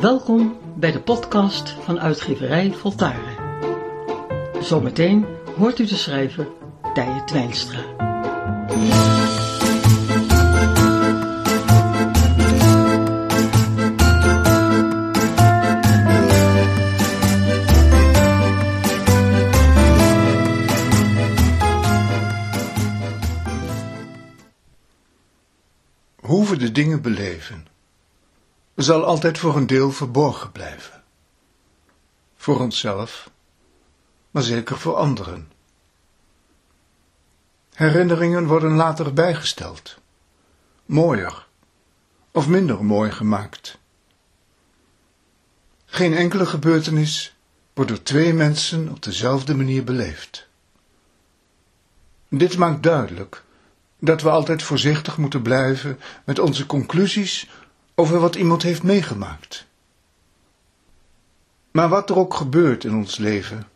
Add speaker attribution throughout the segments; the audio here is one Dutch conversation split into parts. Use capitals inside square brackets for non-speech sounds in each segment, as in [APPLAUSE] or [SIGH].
Speaker 1: Welkom bij de podcast van uitgeverij Voltaren. Zometeen hoort u de schrijver Tije Twijnstra.
Speaker 2: Hoe we de dingen beleven, zal altijd voor een deel verborgen blijven. Voor onszelf, maar zeker voor anderen. Herinneringen worden later bijgesteld, mooier of minder mooi gemaakt. Geen enkele gebeurtenis wordt door twee mensen op dezelfde manier beleefd. Dit maakt duidelijk dat we altijd voorzichtig moeten blijven met onze conclusies over wat iemand heeft meegemaakt. Maar wat er ook gebeurt in ons leven,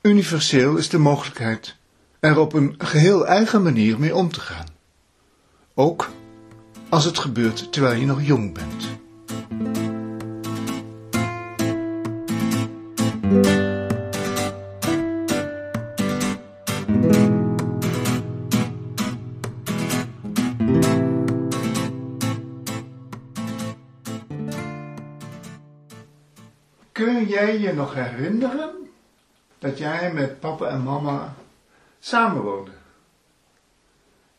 Speaker 2: universeel is de mogelijkheid er op een geheel eigen manier mee om te gaan. Ook als het gebeurt terwijl je nog jong bent. Kun jij je nog herinneren dat jij met papa en mama samenwoonde?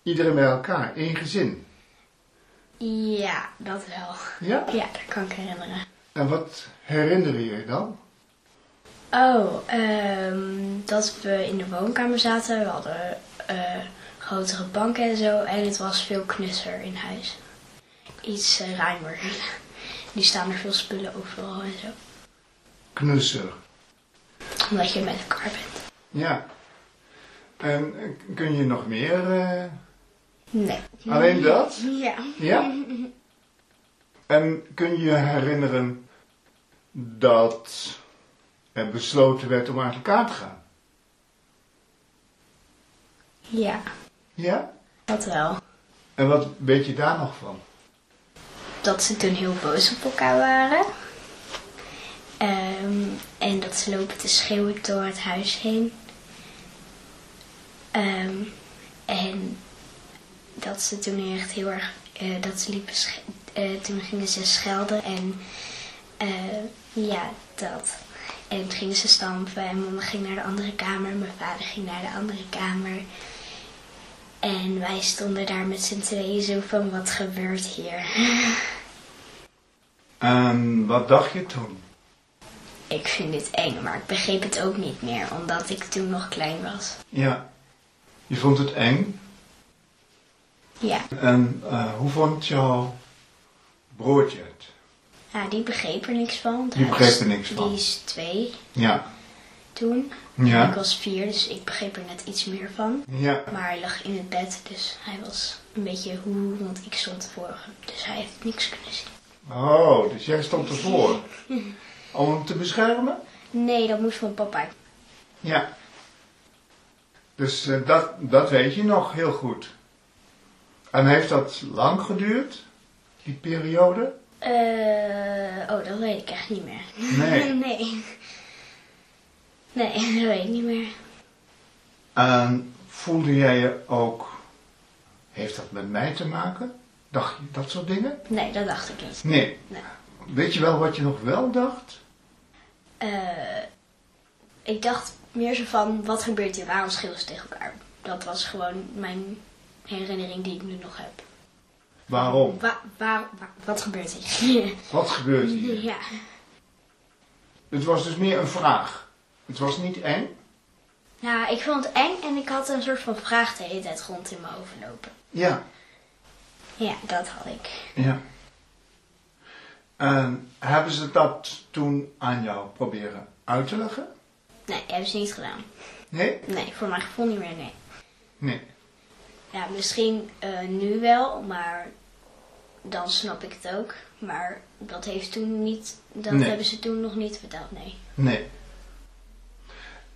Speaker 2: Iedereen bij elkaar, één gezin.
Speaker 3: Ja, dat wel.
Speaker 2: Ja?
Speaker 3: Ja, dat kan ik herinneren.
Speaker 2: En wat herinner je je dan?
Speaker 3: Oh, ehm, dat we in de woonkamer zaten. We hadden eh, grotere banken en zo. En het was veel knusser in huis. Iets eh, ruimer. Nu staan er veel spullen overal en zo.
Speaker 2: Knusser.
Speaker 3: Omdat je met elkaar bent.
Speaker 2: Ja. En eh, kun je nog meer? eh,
Speaker 3: Nee.
Speaker 2: Alleen dat?
Speaker 3: Ja.
Speaker 2: Ja? [LAUGHS] En kun je je herinneren dat er besloten werd om uit elkaar te gaan?
Speaker 3: Ja,
Speaker 2: Ja?
Speaker 3: dat wel.
Speaker 2: En wat weet je daar nog van?
Speaker 3: dat ze toen heel boos op elkaar waren. Ehm, en dat ze lopen te schreeuwen door het huis heen. Ehm, en dat ze toen echt heel erg. eh, dat ze liepen. sch- eh, toen gingen ze schelden en. eh, ja, dat. En toen gingen ze stampen en mama ging naar de andere kamer. Mijn vader ging naar de andere kamer. En wij stonden daar met z'n tweeën zo van wat gebeurt hier. [LAUGHS]
Speaker 2: En Ehm, wat dacht je toen?
Speaker 3: Ik vind dit eng, maar ik begreep het ook niet meer, omdat ik toen nog klein was.
Speaker 2: Ja. Je vond het eng?
Speaker 3: Ja,
Speaker 2: En eh, hoe vond jouw broertje het?
Speaker 3: ja die begreep er niks van.
Speaker 2: Die
Speaker 3: Hij
Speaker 2: begreep
Speaker 3: is-
Speaker 2: er niks van.
Speaker 3: Die is twee
Speaker 2: Ja.
Speaker 3: toen.
Speaker 2: Ja.
Speaker 3: Ik was vier, dus ik begreep er net iets meer van.
Speaker 2: Ja.
Speaker 3: Maar hij lag in het bed, dus hij was een beetje hoe, want ik stond voor hem. Dus hij heeft niks kunnen zien.
Speaker 2: Oh, dus jij stond ervoor. Om hem te beschermen?
Speaker 3: Nee, dat moest van papa.
Speaker 2: Ja. Dus eh, dat, dat weet je nog heel goed. En heeft dat lang geduurd, die periode?
Speaker 3: Eh, oh, dat weet ik echt niet meer.
Speaker 2: Nee.
Speaker 3: [LAUGHS] nee. Nee, [LAUGHS] dat weet ik niet meer.
Speaker 2: En Ehm, voelde jij je ook, heeft dat met mij te maken? Dacht je dat soort dingen?
Speaker 3: Nee, dat dacht ik niet.
Speaker 2: Nee.
Speaker 3: Nee.
Speaker 2: Weet je wel wat je nog wel dacht?
Speaker 3: Eh, ik dacht meer zo van, wat gebeurt hier? Waarom schreeuwen ze tegen elkaar? Dat was gewoon mijn herinnering die ik nu nog heb.
Speaker 2: Waarom?
Speaker 3: Wa- waar, wa- wat gebeurt hier? [LAUGHS]
Speaker 2: Wat gebeurt hier?
Speaker 3: ja.
Speaker 2: Het was dus meer een vraag. Het was niet eng?
Speaker 3: Nou, ik vond het eng en ik had een soort van vraag de hele tijd rond in mijn hoofd lopen.
Speaker 2: Ja.
Speaker 3: Ja, dat had ik.
Speaker 2: Ja. En hebben ze dat toen aan jou proberen uit te leggen?
Speaker 3: Nee, hebben ze niet gedaan.
Speaker 2: Nee?
Speaker 3: Nee, voor mijn gevoel niet meer, nee.
Speaker 2: Nee.
Speaker 3: Ja, misschien eh, nu wel, maar dan snap ik het ook. Maar dat heeft toen niet, dat
Speaker 2: Nee.
Speaker 3: hebben ze toen nog niet verteld, nee.
Speaker 2: Nee.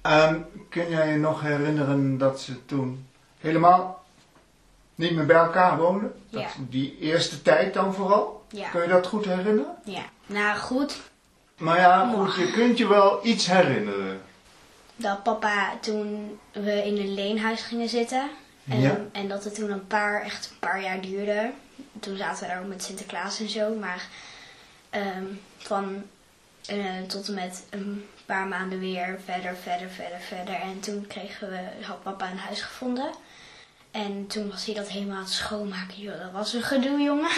Speaker 2: Ehm, kun jij je nog herinneren dat ze toen helemaal Niet meer bij elkaar wonen? Dat,
Speaker 3: Ja.
Speaker 2: Die eerste tijd dan vooral?
Speaker 3: Ja.
Speaker 2: Kun je dat goed herinneren?
Speaker 3: Ja. Nou goed,
Speaker 2: Maar ja,
Speaker 3: Mooi.
Speaker 2: goed, je kunt je wel iets herinneren.
Speaker 3: dat papa toen we in een leenhuis gingen zitten. En,
Speaker 2: Ja.
Speaker 3: en dat het toen een paar, echt een paar jaar duurde. Toen zaten we daar ook met Sinterklaas en zo. Maar ehm, van eh, tot en met een paar maanden weer verder, verder, verder, verder. En toen kregen we, had papa een huis gevonden. En toen was hij dat helemaal aan het schoonmaken. Joh, dat was een gedoe, jongen.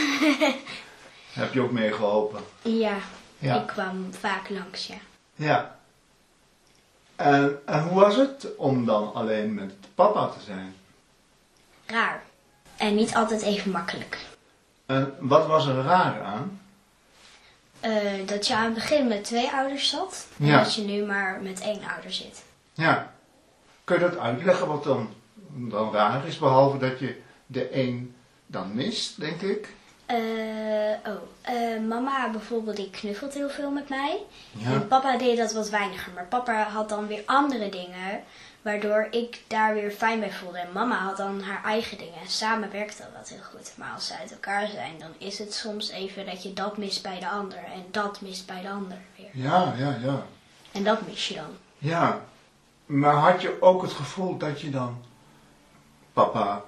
Speaker 3: [LAUGHS]
Speaker 2: Heb je ook meegeholpen?
Speaker 3: ja,
Speaker 2: Ja.
Speaker 3: ik kwam vaak langs, ja.
Speaker 2: Ja. En, en hoe was het om dan alleen met papa te zijn?
Speaker 3: Raar. En niet altijd even makkelijk.
Speaker 2: En wat was er raar aan?
Speaker 3: Eh, dat je aan het begin met twee ouders zat. En
Speaker 2: Ja.
Speaker 3: dat je nu maar met één ouder zit.
Speaker 2: Ja. Kun je dat uitleggen wat dan, dan raar is, behalve dat je de een dan mist, denk ik?
Speaker 3: Eh, oh, eh, mama bijvoorbeeld, die knuffelt heel veel met mij.
Speaker 2: Ja.
Speaker 3: En papa deed dat wat weiniger. Maar papa had dan weer andere dingen. Waardoor ik daar weer fijn bij voelde. En mama had dan haar eigen dingen. En samen werkt dat wel heel goed. Maar als ze uit elkaar zijn, dan is het soms even dat je dat mist bij de ander. En dat mist bij de ander weer.
Speaker 2: Ja, ja, ja.
Speaker 3: En dat mis je dan.
Speaker 2: Ja, maar had je ook het gevoel dat je dan papa,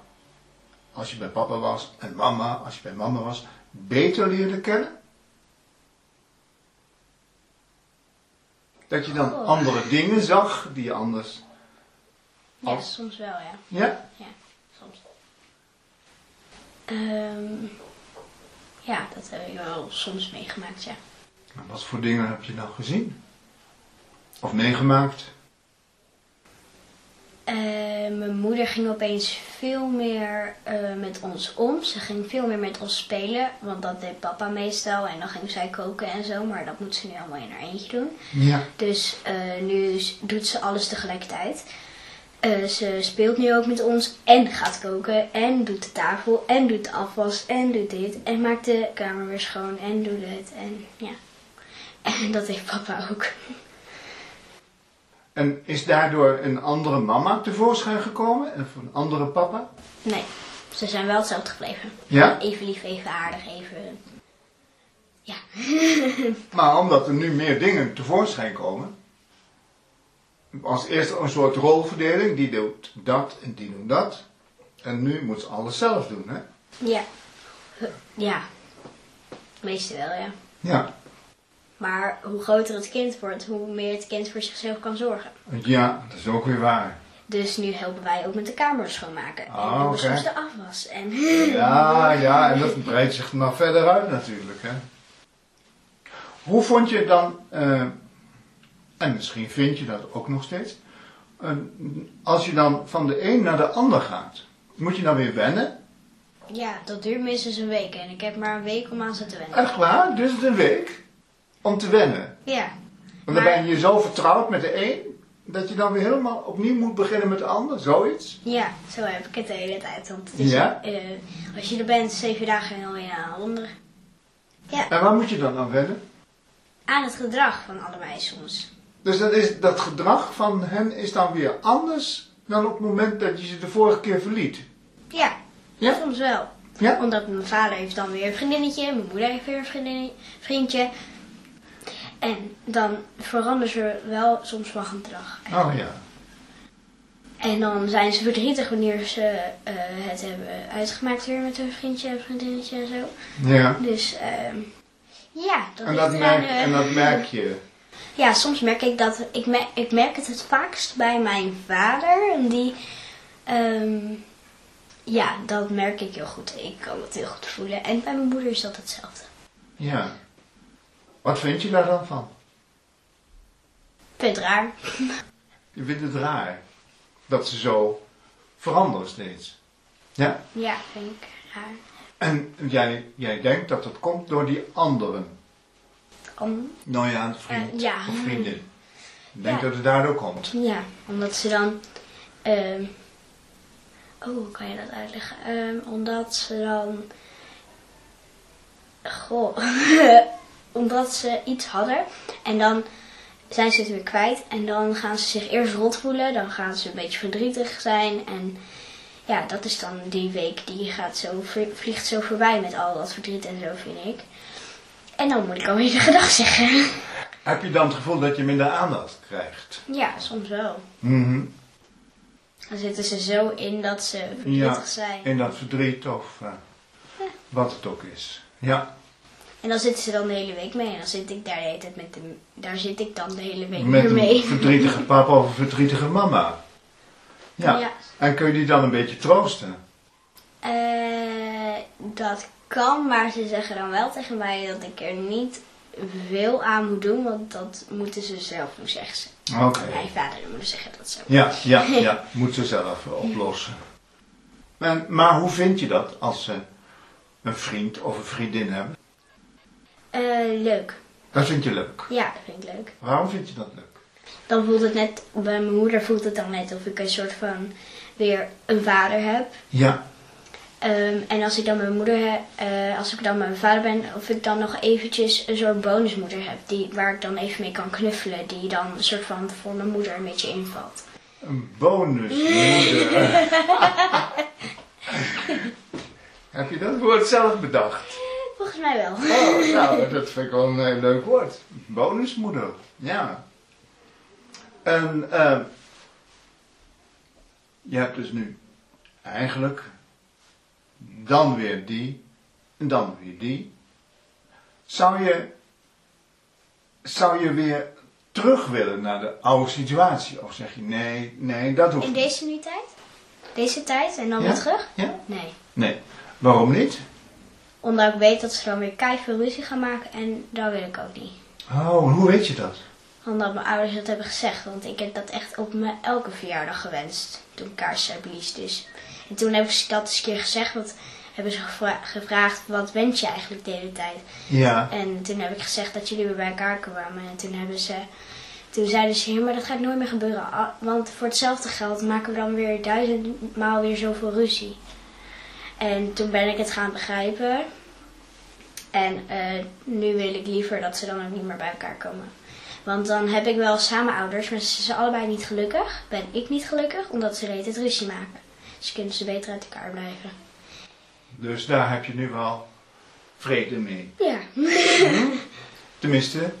Speaker 2: als je bij papa was, en mama, als je bij mama was, beter leerde kennen? Dat je dan
Speaker 3: Goh.
Speaker 2: andere dingen zag die je anders.
Speaker 3: Ja,
Speaker 2: Oh.
Speaker 3: soms wel, ja.
Speaker 2: Ja?
Speaker 3: Ja, soms. Ehm, ja, dat heb ik wel soms meegemaakt, ja.
Speaker 2: Maar wat voor dingen heb je dan gezien? Of meegemaakt?
Speaker 3: Eh, mijn moeder ging opeens veel meer eh, met ons om. Ze ging veel meer met ons spelen, want dat deed papa meestal. En dan ging zij koken en zo, maar dat moet ze nu allemaal in haar eentje doen.
Speaker 2: Ja.
Speaker 3: Dus eh, nu s- doet ze alles tegelijkertijd. Eh, ze speelt nu ook met ons en gaat koken en doet de tafel en doet de afwas en doet dit en maakt de kamer weer schoon en doet het en ja. [LAUGHS] En dat heeft papa ook. [LAUGHS]
Speaker 2: En is daardoor een andere mama tevoorschijn gekomen en een andere papa?
Speaker 3: Nee, ze zijn wel hetzelfde gebleven.
Speaker 2: Ja?
Speaker 3: Even lief, even aardig, even... Ja.
Speaker 2: Maar omdat er nu meer dingen tevoorschijn komen. Als eerst een soort rolverdeling, die doet dat en die doet dat. En nu moet ze alles zelf doen, hè?
Speaker 3: Ja. Ja. Meestal wel, ja.
Speaker 2: Ja.
Speaker 3: Maar hoe groter het kind wordt, hoe meer het kind voor zichzelf kan zorgen.
Speaker 2: Ja, dat is ook weer waar.
Speaker 3: Dus nu helpen wij ook met de kamer schoonmaken.
Speaker 2: Ah,
Speaker 3: en doen we
Speaker 2: oké.
Speaker 3: soms de afwas. En [LAUGHS]
Speaker 2: Ja, ja, en dat breidt zich nog verder uit natuurlijk, hè? Hoe vond je dan, eh, en misschien vind je dat ook nog steeds, eh, als je dan van de een naar de ander gaat, moet je dan weer wennen?
Speaker 3: ja, dat duurt minstens een week. En ik heb maar een week om aan ze te wennen.
Speaker 2: Echt waar? Dus het een week om te wennen.
Speaker 3: Ja.
Speaker 2: Want dan
Speaker 3: Maar-
Speaker 2: ben je zo vertrouwd met de een, dat je dan weer helemaal opnieuw moet beginnen met de ander, zoiets.
Speaker 3: Ja, zo heb ik het de hele tijd. Want het is,
Speaker 2: Ja?
Speaker 3: eh, als je er bent, zeven dagen en alweer aan een ander. Ja,
Speaker 2: En waar moet je dan aan wennen?
Speaker 3: aan het gedrag van allebei soms.
Speaker 2: Dus dat, is, dat gedrag van hen is dan weer anders dan op het moment dat je ze de vorige keer verliet.
Speaker 3: Ja,
Speaker 2: Ja?
Speaker 3: soms wel.
Speaker 2: Ja?
Speaker 3: Omdat mijn vader heeft dan weer een vriendinnetje, mijn moeder heeft weer een vriendin- vriendje. En dan veranderen ze wel soms van gedrag.
Speaker 2: Oh ja.
Speaker 3: En dan zijn ze verdrietig wanneer ze eh, het hebben uitgemaakt weer met hun vriendje en vriendinnetje en zo.
Speaker 2: ja.
Speaker 3: Dus ehm, ja, dat
Speaker 2: En,
Speaker 3: ligt
Speaker 2: dat
Speaker 3: eraan,
Speaker 2: merk,
Speaker 3: eh,
Speaker 2: en dat merk je.
Speaker 3: Ja, soms merk ik dat. Ik merk, ik merk het het vaakst bij mijn vader. En die. ehm, ja, dat merk ik heel goed. Ik kan het heel goed voelen. En bij mijn moeder is dat hetzelfde.
Speaker 2: Ja. Wat vind je daar dan van?
Speaker 3: Ik vind het raar.
Speaker 2: Je vindt het raar dat ze zo veranderen steeds. Ja?
Speaker 3: Ja, vind ik raar.
Speaker 2: En jij, jij denkt dat dat komt door die anderen.
Speaker 3: Om,
Speaker 2: Nou ja, een vriend
Speaker 3: Eh, ja.
Speaker 2: of vriendin. Ik denk
Speaker 3: Ja.
Speaker 2: dat het daardoor komt.
Speaker 3: ja, omdat ze dan. ehm, oh, hoe kan je dat uitleggen? Ehm, omdat ze dan. Goh. [LAUGHS] omdat ze iets hadden. En dan zijn ze het weer kwijt. En dan gaan ze zich eerst rot voelen. Dan gaan ze een beetje verdrietig zijn. En ja, dat is dan die week die gaat zo, vlie- vliegt zo voorbij met al dat verdriet en zo, vind ik. En dan moet ik alweer [LAUGHS] de gedag zeggen.
Speaker 2: Heb je dan het gevoel dat je minder aandacht krijgt?
Speaker 3: Ja, soms wel.
Speaker 2: Mhm.
Speaker 3: Dan zitten ze zo in dat ze verdrietig
Speaker 2: Ja,
Speaker 3: zijn.
Speaker 2: in dat verdriet of eh, wat het ook is. Ja,
Speaker 3: En dan zitten ze dan de hele week mee. En dan zit ik daar de hele tijd met de, daar zit ik dan de hele week
Speaker 2: met
Speaker 3: weer
Speaker 2: een
Speaker 3: mee. [LAUGHS]
Speaker 2: verdrietige papa of een verdrietige mama. Ja.
Speaker 3: Ja.
Speaker 2: en kun je die dan een beetje troosten?
Speaker 3: Eh, dat kan, maar ze zeggen dan wel tegen mij dat ik er niet veel aan moet doen, want dat moeten ze zelf doen, zeggen ze.
Speaker 2: Oké.
Speaker 3: Mijn vader en moeder zeggen dat zo.
Speaker 2: Ja, ja, ja. Moet ze zelf eh, oplossen. En, maar hoe vind je dat als ze een vriend of een vriendin hebben?
Speaker 3: Eh, leuk.
Speaker 2: Dat vind je leuk.
Speaker 3: Ja, dat vind ik leuk.
Speaker 2: Waarom vind je dat leuk?
Speaker 3: Dan voelt het net, bij mijn moeder voelt het dan net of ik een soort van weer een vader heb.
Speaker 2: Ja,
Speaker 3: Ehm, en als ik dan mijn moeder heb, eh, als ik dan met mijn vader ben, of ik dan nog eventjes een soort bonusmoeder heb, die, waar ik dan even mee kan knuffelen, die dan een soort van voor mijn moeder een beetje invalt.
Speaker 2: een [LAUGHS] bonusmoeder. Heb je dat woord zelf bedacht?
Speaker 3: Volgens mij wel.
Speaker 2: Oh, nou, dat vind ik wel een heel leuk woord. Bonusmoeder, ja. En eh, je hebt dus nu eigenlijk dan weer die en dan weer die. Zou je, zou je weer terug willen naar de oude situatie? Of zeg je nee, nee, dat hoeft
Speaker 3: In
Speaker 2: niet.
Speaker 3: deze nu tijd? Deze tijd en dan
Speaker 2: Ja?
Speaker 3: weer terug?
Speaker 2: Ja?
Speaker 3: Nee.
Speaker 2: Nee. Waarom niet?
Speaker 3: Omdat ik weet dat ze dan weer keihard ruzie gaan maken en dat wil ik ook niet.
Speaker 2: Oh, hoe weet je dat?
Speaker 3: Omdat mijn ouders dat hebben gezegd, want ik heb dat echt op mijn elke verjaardag gewenst. Toen kaars zijn blies dus. En toen heb ik dat eens een keer gezegd, want hebben ze gevra- gevraagd, wat wens je eigenlijk de hele tijd?
Speaker 2: Ja.
Speaker 3: En toen heb ik gezegd dat jullie weer bij elkaar kwamen. En toen hebben ze... Toen zeiden ze, ja, maar dat gaat nooit meer gebeuren. Ah, Want voor hetzelfde geld maken we dan weer duizendmaal weer zoveel ruzie. En toen ben ik het gaan begrijpen. En eh, nu wil ik liever dat ze dan ook niet meer bij elkaar komen. Want dan heb ik wel samen ouders, maar ze zijn allebei niet gelukkig. Ben ik niet gelukkig, omdat ze de hele tijd ruzie maken. Dus kunnen ze beter uit elkaar blijven.
Speaker 2: Dus daar heb je nu wel vrede mee.
Speaker 3: Ja.
Speaker 2: Tenminste,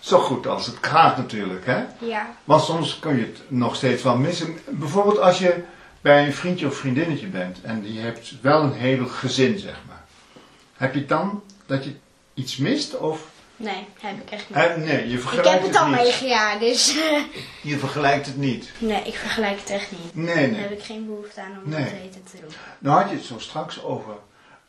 Speaker 2: zo goed als het gaat natuurlijk, hè?
Speaker 3: Ja.
Speaker 2: Want soms kun je het nog steeds wel missen. Bijvoorbeeld als je bij een vriendje of vriendinnetje bent en die hebt wel een heel gezin, zeg maar. Heb je het dan dat je iets mist of...
Speaker 3: Nee, heb ik echt niet.
Speaker 2: Eh, nee, je
Speaker 3: Ik
Speaker 2: vergelijkt
Speaker 3: heb het al
Speaker 2: niet.
Speaker 3: meegejaar, dus.
Speaker 2: Je vergelijkt het niet.
Speaker 3: nee, ik vergelijk het echt niet.
Speaker 2: Nee,
Speaker 3: Daar
Speaker 2: nee.
Speaker 3: heb ik geen behoefte aan om
Speaker 2: Nee.
Speaker 3: dat weten te doen.
Speaker 2: Nou had je het zo straks over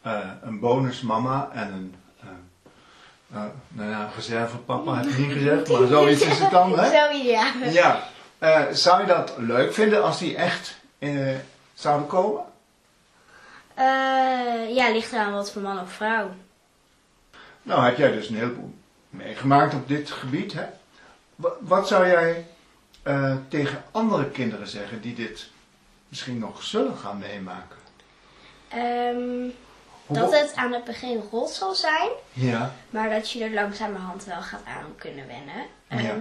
Speaker 2: eh, een bonusmama en een... eh, eh, nou ja, reservepapa heb je niet gezegd, maar zoiets is het dan,
Speaker 3: [LAUGHS]
Speaker 2: hè?
Speaker 3: Zo ja.
Speaker 2: Ja, eh, zou je dat leuk vinden als die echt eh, zouden komen?
Speaker 3: Eh, ja, ligt eraan wat voor man of vrouw.
Speaker 2: Nou, heb jij dus een heleboel meegemaakt op dit gebied, hè? Wa- wat zou jij eh, tegen andere kinderen zeggen die dit misschien nog zullen gaan meemaken?
Speaker 3: Ehm,
Speaker 2: Hoe-
Speaker 3: dat het aan het begin rot zal zijn,
Speaker 2: Ja,
Speaker 3: maar dat je er langzamerhand wel gaat aan kunnen wennen. Ehm,
Speaker 2: Ja.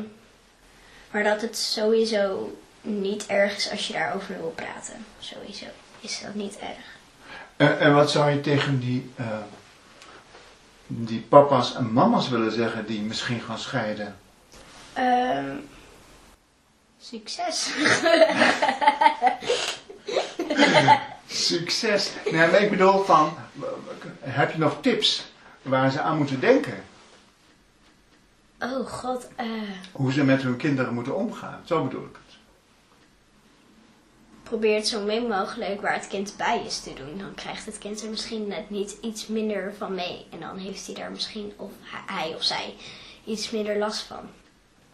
Speaker 3: Maar dat het sowieso niet erg is als je daarover wil praten. Sowieso is dat niet erg.
Speaker 2: en, en wat zou je tegen die, eh, die papa's en mama's willen zeggen die misschien gaan scheiden?
Speaker 3: Ehm, succes. [LAUGHS]
Speaker 2: Succes! Nee, maar ik bedoel van, w- w- heb je nog tips waar ze aan moeten denken?
Speaker 3: oh god, eh.
Speaker 2: hoe ze met hun kinderen moeten omgaan. Zo bedoel ik het.
Speaker 3: probeert zo min mogelijk waar het kind bij is te doen. Dan krijgt het kind er misschien net niet iets minder van mee. En dan heeft hij daar misschien, of hij- hij of zij, iets minder last van.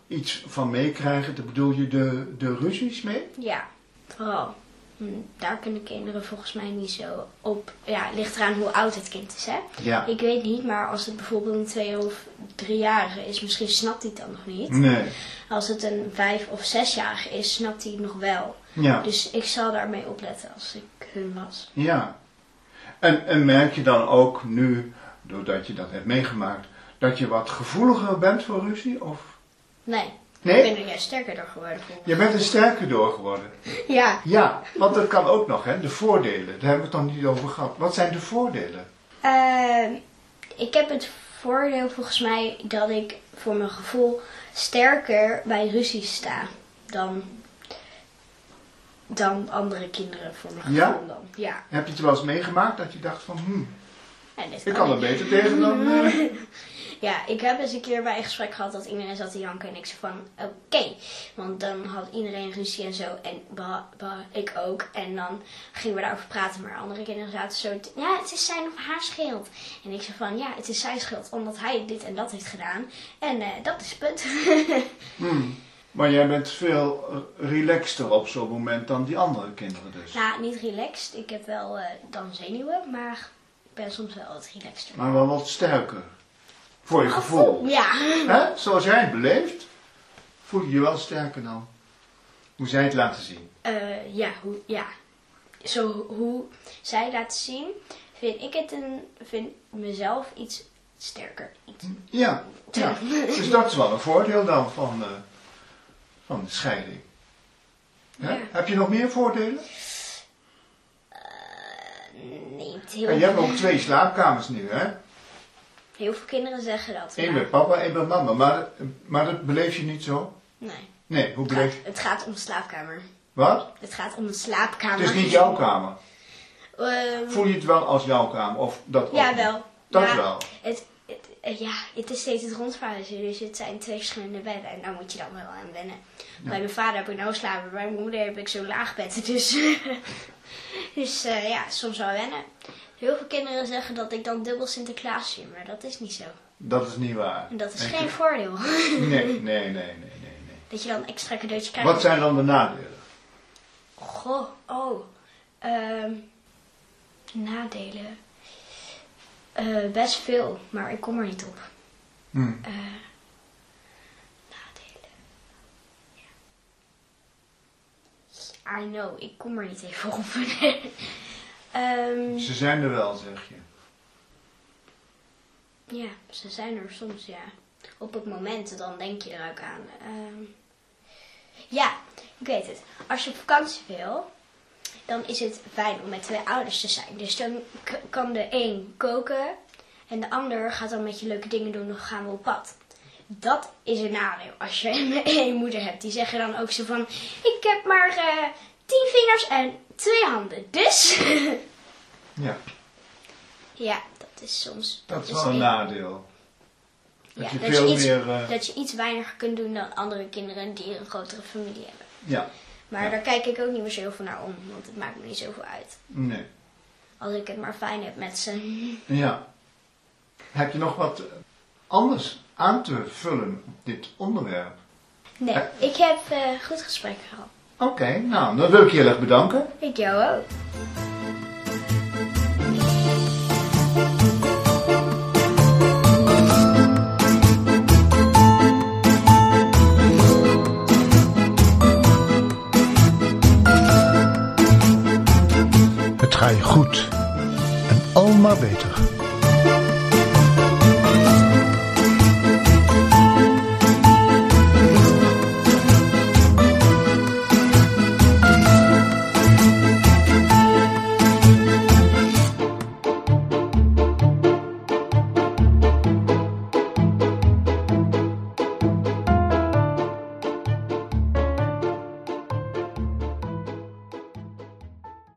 Speaker 2: Iets van meekrijgen, daar bedoel je de, de ruzies mee?
Speaker 3: Ja, vooral. Hm, Daar kunnen kinderen volgens mij niet zo op. Ja, het ligt eraan hoe oud het kind is, hè?
Speaker 2: Ja.
Speaker 3: Ik weet niet, maar als het bijvoorbeeld een twee- of driejarige is, misschien snapt hij het dan nog niet.
Speaker 2: Nee.
Speaker 3: Als het een vijf- of zesjarige is, snapt hij het nog wel.
Speaker 2: Ja.
Speaker 3: Dus ik zal daarmee opletten als ik hun was.
Speaker 2: Ja. En, en merk je dan ook nu, doordat je dat hebt meegemaakt, dat je wat gevoeliger bent voor ruzie? Of?
Speaker 3: Nee, Ik
Speaker 2: Nee?
Speaker 3: ben er juist sterker door geworden. volgens
Speaker 2: Je bent er sterker door geworden.
Speaker 3: mij. Ja,
Speaker 2: Ja, want dat kan ook nog, hè? De voordelen. Daar hebben we het nog niet over gehad. Wat zijn de voordelen?
Speaker 3: Ehm, ik heb het voordeel volgens mij dat ik voor mijn gevoel sterker bij ruzie sta dan, dan andere kinderen voor mijn
Speaker 2: Ja?
Speaker 3: gevoel. Dan. Ja.
Speaker 2: Heb je het wel eens meegemaakt dat je dacht van, hm,
Speaker 3: En dit
Speaker 2: ik kan er
Speaker 3: ik.
Speaker 2: beter tegen dan... eh,
Speaker 3: Ja, ik heb eens een keer bij een gesprek gehad dat iedereen zat te janken en ik zei van oké. Want dan had iedereen ruzie en zo en beha- beha- ik ook. En dan gingen we daarover praten, maar andere kinderen zaten zo te- ja het is zijn of haar schuld. En ik zei van ja het is zijn schuld omdat hij dit en dat heeft gedaan. En eh, dat is het punt. [LAUGHS]
Speaker 2: Hmm. Maar jij bent veel eh, relaxter op zo'n moment dan die andere kinderen dus.
Speaker 3: nou, niet relaxed. Ik heb wel eh, dan zenuwen, maar ik ben soms wel wat relaxed.
Speaker 2: Maar wel wat sterker. Voor je gevoel.
Speaker 3: Ja.
Speaker 2: Hè? Zoals jij het beleeft, voel je je wel sterker dan. Hoe zij het laten zien.
Speaker 3: Eh, ja, hoe, ja. Zo ho- hoe zij laat zien, vind ik het een, vind mezelf iets sterker. Iets.
Speaker 2: Ja, ja. dus dat is wel een voordeel dan van, eh, van de scheiding. Hè?
Speaker 3: Ja.
Speaker 2: Heb je nog meer voordelen?
Speaker 3: Nee, het heel,
Speaker 2: En je hebt ook twee slaapkamers nu, hè?
Speaker 3: heel veel kinderen zeggen dat.
Speaker 2: Eén
Speaker 3: maar-
Speaker 2: bij papa, één bij mama. Maar, maar dat beleef je niet zo?
Speaker 3: Nee.
Speaker 2: Nee, hoe
Speaker 3: Het gaat,
Speaker 2: beleef je?
Speaker 3: het gaat om de slaapkamer.
Speaker 2: Wat?
Speaker 3: Het gaat om de slaapkamer.
Speaker 2: Het is niet jouw kamer.
Speaker 3: Ehm,
Speaker 2: Voel je het wel als jouw kamer? Of dat ook
Speaker 3: ja,
Speaker 2: niet?
Speaker 3: wel.
Speaker 2: Oh. Dat
Speaker 3: Ja,
Speaker 2: wel.
Speaker 3: Het, het, eh, ja, het is steeds het rondverhuizen, dus het zijn twee verschillende bedden. En daar moet je dan wel aan wennen. Bij mijn vader heb ik nou slapen, bij mijn moeder heb ik zo'n laag bed. [LAUGHS] Dus, dus eh, ja, soms wel wennen. Heel veel kinderen zeggen dat ik dan dubbel Sinterklaas zie, maar dat is niet zo.
Speaker 2: Dat is niet waar.
Speaker 3: En dat is
Speaker 2: Weet
Speaker 3: geen
Speaker 2: je?
Speaker 3: voordeel. [LAUGHS]
Speaker 2: Nee, nee, nee, nee, nee. nee.
Speaker 3: dat je dan extra cadeautje krijgt.
Speaker 2: Wat zijn dan de nadelen?
Speaker 3: Goh, oh. Ehm, nadelen. Eh, best veel, maar ik kom er niet op.
Speaker 2: Hm.
Speaker 3: Nadelen. Ja. I know, ik kom er niet even op. [LAUGHS] Ehm,
Speaker 2: Ze zijn er wel, zeg je.
Speaker 3: ja, ze zijn er soms, ja. Op het moment, dan denk je er ook aan. Ehm, ja, ik weet het. Als je op vakantie wil, dan is het fijn om met twee ouders te zijn. Dus dan k- kan de een koken en de ander gaat dan met je leuke dingen doen of gaan we op pad. Dat is een nadeel als je [LAUGHS] een- één moeder hebt. Die zeggen dan ook zo van, ik heb maar eh, tien vingers en twee handen. Dus, [LAUGHS]
Speaker 2: Ja,
Speaker 3: ja, dat is soms...
Speaker 2: dat is wel een
Speaker 3: één-
Speaker 2: nadeel. Dat
Speaker 3: Ja,
Speaker 2: je
Speaker 3: dat
Speaker 2: veel
Speaker 3: je iets-
Speaker 2: meer... eh,
Speaker 3: dat je iets weiniger kunt doen dan andere kinderen die een grotere familie hebben.
Speaker 2: Ja,
Speaker 3: Maar daar kijk ik ook niet meer zo heel veel naar om, want het maakt me niet zoveel uit.
Speaker 2: nee.
Speaker 3: Als ik het maar fijn heb met ze. [LAUGHS]
Speaker 2: Ja. Heb je nog wat eh, anders aan te vullen op dit onderwerp?
Speaker 3: Nee, ik heb eh, goed gesprek gehad.
Speaker 2: Oké, nou, dan wil ik je heel erg bedanken.
Speaker 3: Ik jou ook.
Speaker 2: Het ga je goed. En almaar beter.